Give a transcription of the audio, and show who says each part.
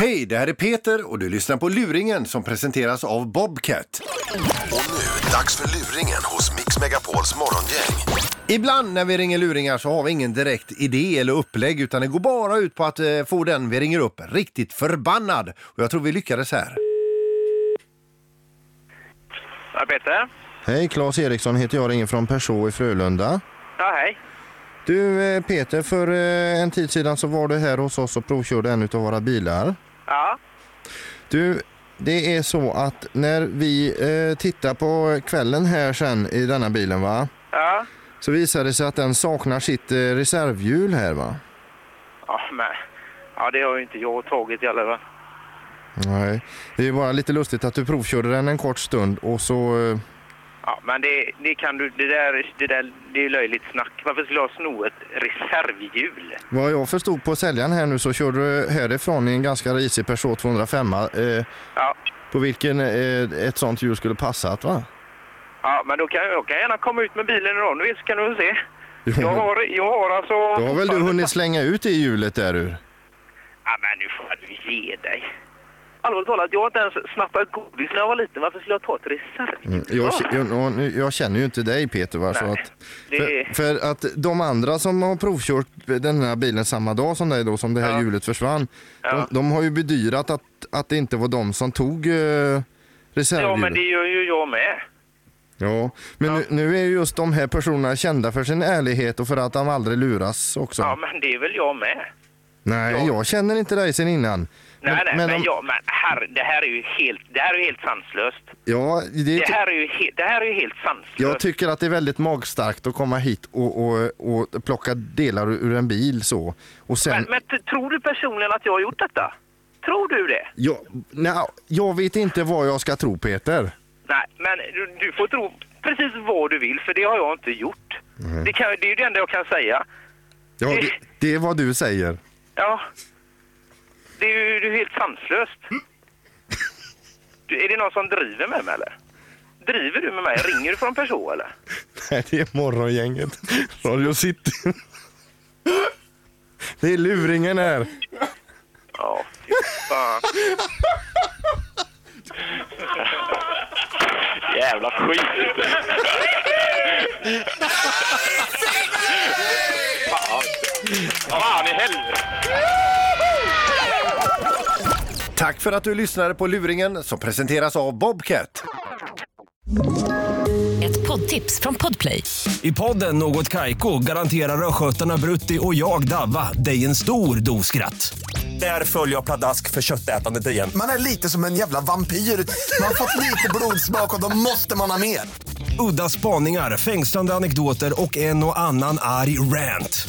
Speaker 1: Hej, det här är Peter och du lyssnar på Luringen som presenteras av Bobcat.
Speaker 2: Och nu, dags för luringen hos Mix Megapols morgongäng.
Speaker 1: Ibland när vi ringer luringar så har vi ingen direkt idé eller upplägg utan det går bara ut på att eh, få den vi ringer upp riktigt förbannad. Och jag tror vi lyckades här.
Speaker 3: Ja, Peter?
Speaker 4: Hej, Claes Eriksson heter jag, ringer från Perså i Frölunda.
Speaker 3: Ja, hej.
Speaker 4: Du eh, Peter, för eh, en tid sedan så var du här hos oss och provkörde en utav våra bilar.
Speaker 3: Ja,
Speaker 4: Du, det är så att när vi eh, tittar på kvällen här sen i denna bilen va,
Speaker 3: ja.
Speaker 4: så visar det sig att den saknar sitt eh, reservhjul här va?
Speaker 3: Ja, men... Ja, det har ju inte jag tagit i alla fall.
Speaker 4: Nej, det är bara lite lustigt att du provkörde den en kort stund och så... Eh,
Speaker 3: Ja, men det, det kan du... Det där, det där det är ju löjligt snack. Varför skulle jag sno ett reservhjul?
Speaker 4: vad jag förstod på säljaren här nu så körde du härifrån i en ganska risig Peugeot 205 eh,
Speaker 3: Ja,
Speaker 4: på vilken eh, ett sånt hjul skulle passat va?
Speaker 3: ja men då kan jag, jag kan gärna komma ut med bilen idag. Nu så kan du väl se.
Speaker 4: Jo,
Speaker 3: Jag
Speaker 4: men-
Speaker 3: har, jag har alltså...
Speaker 4: Då har väl du hunnit slänga ut det hjulet där ur?
Speaker 3: Ja, men nu får du ge dig. Allvarligt talat, jag har inte ens snattat godis när jag var liten. Varför skulle jag ta ett reservhjul?
Speaker 4: Mm, Jag, jag, jag känner ju inte dig Peter. Va? Så
Speaker 3: Nej,
Speaker 4: att,
Speaker 3: det-
Speaker 4: för, för att de andra som har provkört den här bilen samma dag som dig då, som det här
Speaker 3: Ja.
Speaker 4: hjulet försvann.
Speaker 3: Ja.
Speaker 4: De, de har ju bedyrat att, att det inte var de som tog uh, reservhjulet.
Speaker 3: Ja, men det gör ju jag med.
Speaker 4: Ja. Men Nu, nu är ju just de här personerna kända för sin ärlighet och för att de aldrig luras också.
Speaker 3: Ja, men det är väl jag med.
Speaker 4: Nej,
Speaker 3: ja.
Speaker 4: jag känner inte dig sen innan.
Speaker 3: Nej, nej, men,
Speaker 4: om-
Speaker 3: ja, men herre, det här är ju helt, det här är ju helt sanslöst.
Speaker 4: ja, det,
Speaker 3: Det här är ju, he, det här är ju helt sanslöst.
Speaker 4: Jag tycker att det är väldigt magstarkt att komma hit och, och, och plocka delar ur en bil så. Och sen,
Speaker 3: men, men t- tror du personligen att jag har gjort detta? Tror du det?
Speaker 4: Jag, nej, jag vet inte vad jag ska tro Peter.
Speaker 3: Nej, men du, du får tro precis vad du vill, för det har jag inte gjort. Det, kan, det är ju det enda jag kan säga.
Speaker 4: Ja, det, det är vad du säger.
Speaker 3: Ja. Det är ju det är ju helt sanslöst. Du, är det någon som driver med mig eller? Driver du med mig? Ringer du från person eller?
Speaker 4: Nej, det är morgongänget. Radio City. Det är luringen här.
Speaker 3: Ja, fy fan. Jävla skit! Fan. Fan i helvete!
Speaker 1: Tack för att du lyssnade på Luringen som presenteras av Bobcat.
Speaker 5: Ett poddtips från Podplay.
Speaker 6: I podden Något Kaiko garanterar östgötarna Brutti och jag, Davva, dig en stor dos skratt. Där följer jag pladask för köttätandet igen.
Speaker 7: Man är lite som en jävla vampyr. Man har fått lite blodsmak och då måste man ha mer.
Speaker 6: Udda spaningar, fängslande anekdoter och en och annan arg rant.